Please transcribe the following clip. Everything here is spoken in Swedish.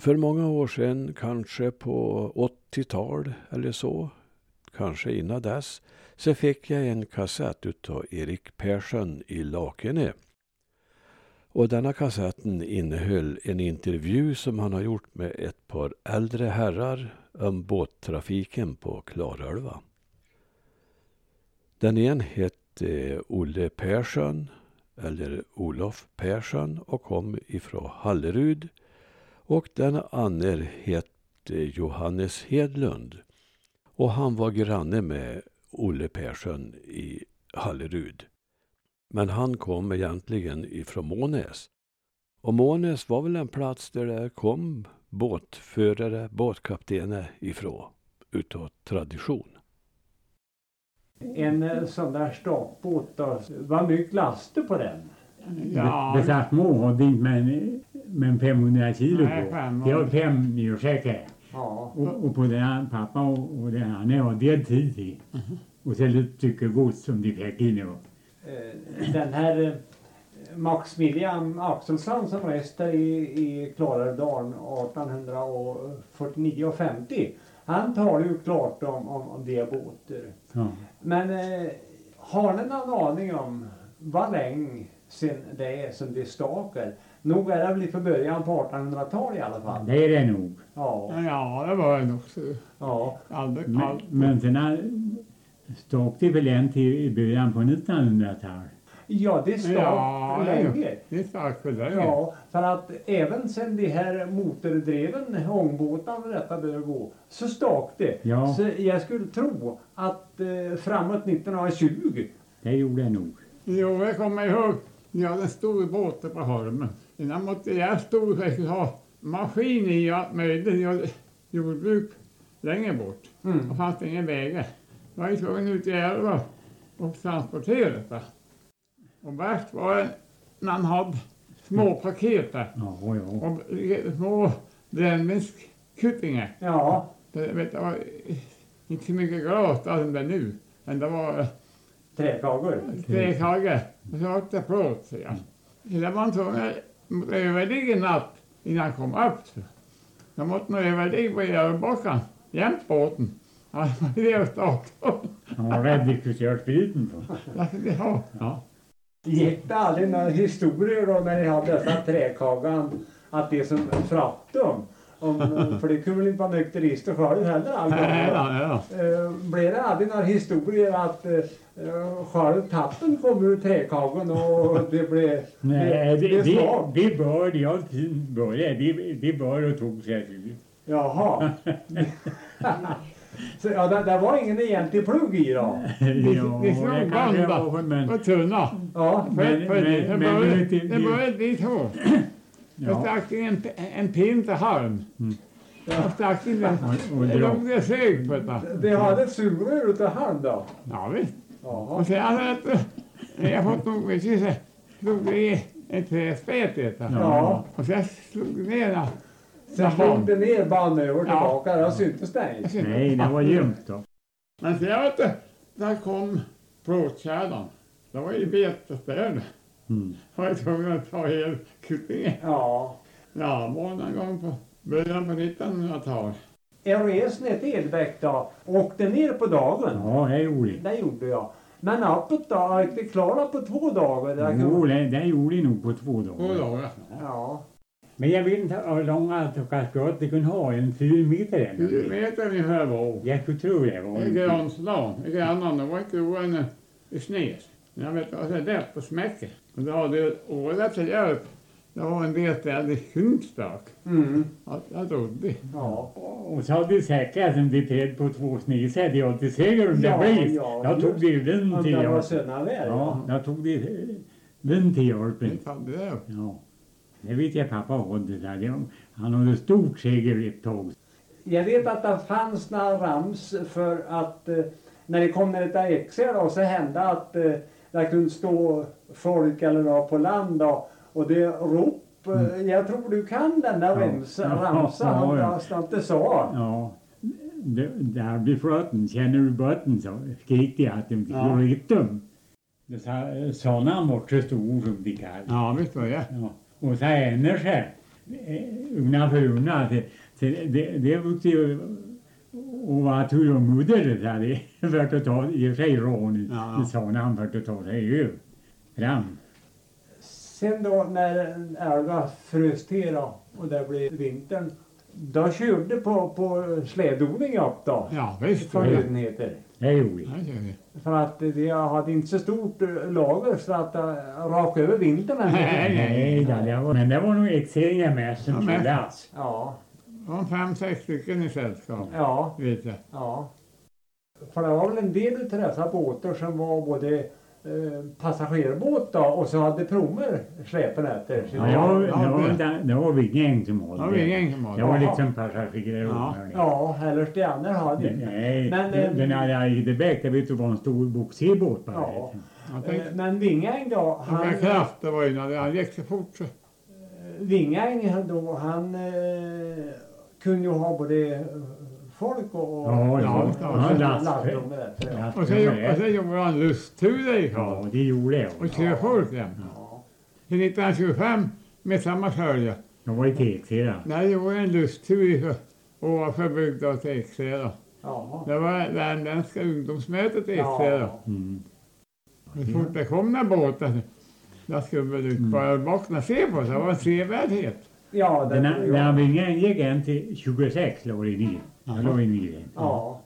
För många år sedan, kanske på 80-tal eller så, kanske innan dess, så fick jag en kassett utav Erik Persson i Lakene. Och denna kassetten innehöll en intervju som han har gjort med ett par äldre herrar om båttrafiken på Klarälva. Den ene hette Olle Persson, eller Olof Persson, och kom ifrån Hallerud. Och den andra hette Johannes Hedlund. Och han var granne med Olle Persson i Hallerud. Men han kom egentligen ifrån Månäs. Och Månäs var väl en plats där det kom båtförare, båtkaptener ifrån, utav tradition. En eh, sån där stoppbåt då, var mycket laster på den? Ja. Det satt måhårding men, men 500 kilo Nej, på. fem- Det var fem ursäkter. Ja. Och, och på den här pappa och, och den här var deltid i. Mm-hmm. Och sen lite stycke gods som de fick in. Och, Eh, Den här eh, Maximilian Axelsson som reste i, i Klarälvdalen 1849 och 50. Han talar ju klart om, om, om det båtar. ja. Men eh, har ni någon aning om vad länge sen det är som det stakar? Nog är det väl från början på 1800-talet i alla fall? Det är det nog. Ja. Ja, det var det nog. så. ja. Albert Men, Karl. men sen här stack det väl en till i början på 1900-talet. Ja, det stak Ja, länge. Det stack väl länge. Ja, för att även sen de här motordriven ångbåtarna och detta började gå så stak det. Ja. Så jag skulle tro att eh, framåt 1920 Det gjorde det nog. Jo, jag kommer ihåg. Ni hade en stor båt uppe på holmen. Innan måste jag stod och skulle ha maskin i och allt möjligt. Ni hade jordbruk längre bort. Mm. Det fanns ingen vägar. Jag var ju tvungen ut i älva och transportera det. Och värst var det när man hade små paket där. Ja, ja. Och små brännvinskuttingar. Ja, Jag vet, det var inte så mycket glas där som det är nu. Men det var träkagor. Stekhage, och så åt jag plåt, så jag. Hela man tog mot överligg en natt innan han kom upp. så. Jag måste nog överligg på överbockan, jämt båten. Ja, det var det jag startade. Han var rädd vi skulle köra spriten på. Ja, ja. Gick det aldrig några historier då när ni hade dessa träkagan att det som fraktade dem? Om, för det kunde väl inte vara nykterister själv heller? Nej Alltså. då, nej då. Eh, blev det aldrig några historier att eh, eh, själv tappen kom ur träkagan och det blev... Nej, det, vi, det, vi, slag? vi bör, jag började, vi, vi bör och tog sig till. Jaha. Så, ja, det, det var ingen egentlig plugg i då? Ja, vi slog det kanske band, var, men... På tunna. Ja. Men- För- för- men- Det men- började- men- det började bli så. Jag Ja, Mm. stack in en, p- en pin till halm. Jag stack in den. och, och Det dra. låg det sug på det. Det hade ett sugrör utav halm då? Ja, visst. Jaha. Och sen vet du, när jag fått nog med kyssen, slog det i ett träspet vet du. Ja. Och sen slog det ner den. Sen slog det ner bandet och Ja. tillbaka. Då syntes det inte. Nej, det var ljumt då. Men sen vet du, där kom plåtkärran. Det var ju betesstäder. Mm. Jag var tvungen att ta hela kuttingen. Ja. Ja, var någon gång på början på 1900-talet. Jag reste E ner till Edbäck då. Åkte ner på dagen. Ja, det gjorde det. Det gjorde jag. Men uppåt då, jag inte klara på två dagar. Det Jo, kunde- det, det gjorde det nog på två Två dagar. dagar. Ja. Men jag vet inte hur långa Tokasgatan kunde ha, en fyra meter Tio eller meter ungefär var Jag skulle tro det var I en Granslan, i Grannan. Det var inte roande i snes. Men jag vet, alltså, det var så lätt på smäcket. Och då hade jag året till hjälp. Det var en del städer i Kungsbäck. Mm. Jag jag trodde. Ja. Och så hade säkert som de träd på två snisar, jag till seger om det Ja, blev. ja, Jag tog det den till Undrar vad hjälp. sönerna där Ja, jag tog det den till hjälpen. Det hade det. Ja. Det vet jag pappa hade där. Det- Han hade stort seger ett tag. Jag vet att det fanns några rams för att eh, när det kom ner till Eksjö då så hände att eh, det kunde stå folk eller då på land då, och det rop. eh, Jag tror du kan den där Mm. Ja. ramsa, Ja, ramsan ja, om ja. jag snart inte sa. Ja. Det, där blir flöten. Känner du böten så skrek de att de fick Ja. rytm. Sådana var så stor som de kallade. Ja, visst var det. Ja. Och så energi. eh, undan för undan. Så, så det, det brukar ju att vara tur och moder så här, det är värt att ta i och för sig rån Ja, ja. ja. i sanan för att ta sig ju fram. Sen då när älva frös till då, och det blev vintern. Då körde på, på slädodling upp då. Ja, visst. Som Ja. den heter. Det gjorde vi. Ja, det gör vi. För att vi hade inte så stort eh, lager så att äh, rakt över vintern. än. Nej. Nej, ja, det var, men det var nog exeringen med Ja, som men- körde alltså. Ja, Om fem, sex stycken i sällskap. ja, Vet jag. ja. För det var väl en del utav dessa båtar som var både eh, passagerarbåt då och så hade promer släpen efter. Så Ja, det det var- var, ja, det var, men- inte- det var Wingäng som Det var hade vi det. gäng som hade. Det var Jaha. liksom passagerare. Ja. Ja, eller Stenner hade ju. Nej, Men, eh, den- den här Idebäck, det vet du var en stor boxig båt bara. Ja. Jag Eh, tänkte, Men Wingäng då, de han, där kraft, det var ju när det- han gick så fort så. Wingäng han då, han eh, kunde ju ha både folk och, och Ja, ja, och- ja. och Ja, last- lastrum där, så ja. Ja, Och så, det- gjorde- och så gjorde han lustturer i Karl. Ja, det gjorde jag. Och körde folk jämt. Ja. Till 1925, med samma följe, Jag var i Teksera. när jag gjorde en lusttur i- ovanför bygda och till Eksheda. Ja. Det var Värmländska ungdomsmötet i Eksheda. Ja. Mm. Så fort det kom den båten, där skulle man ut på ölbacken och se på. Det var en sevärdhet. ja, Den det här, den här vingen gick en till 26 låg i ny. Jaha. Låg i ny. Ja.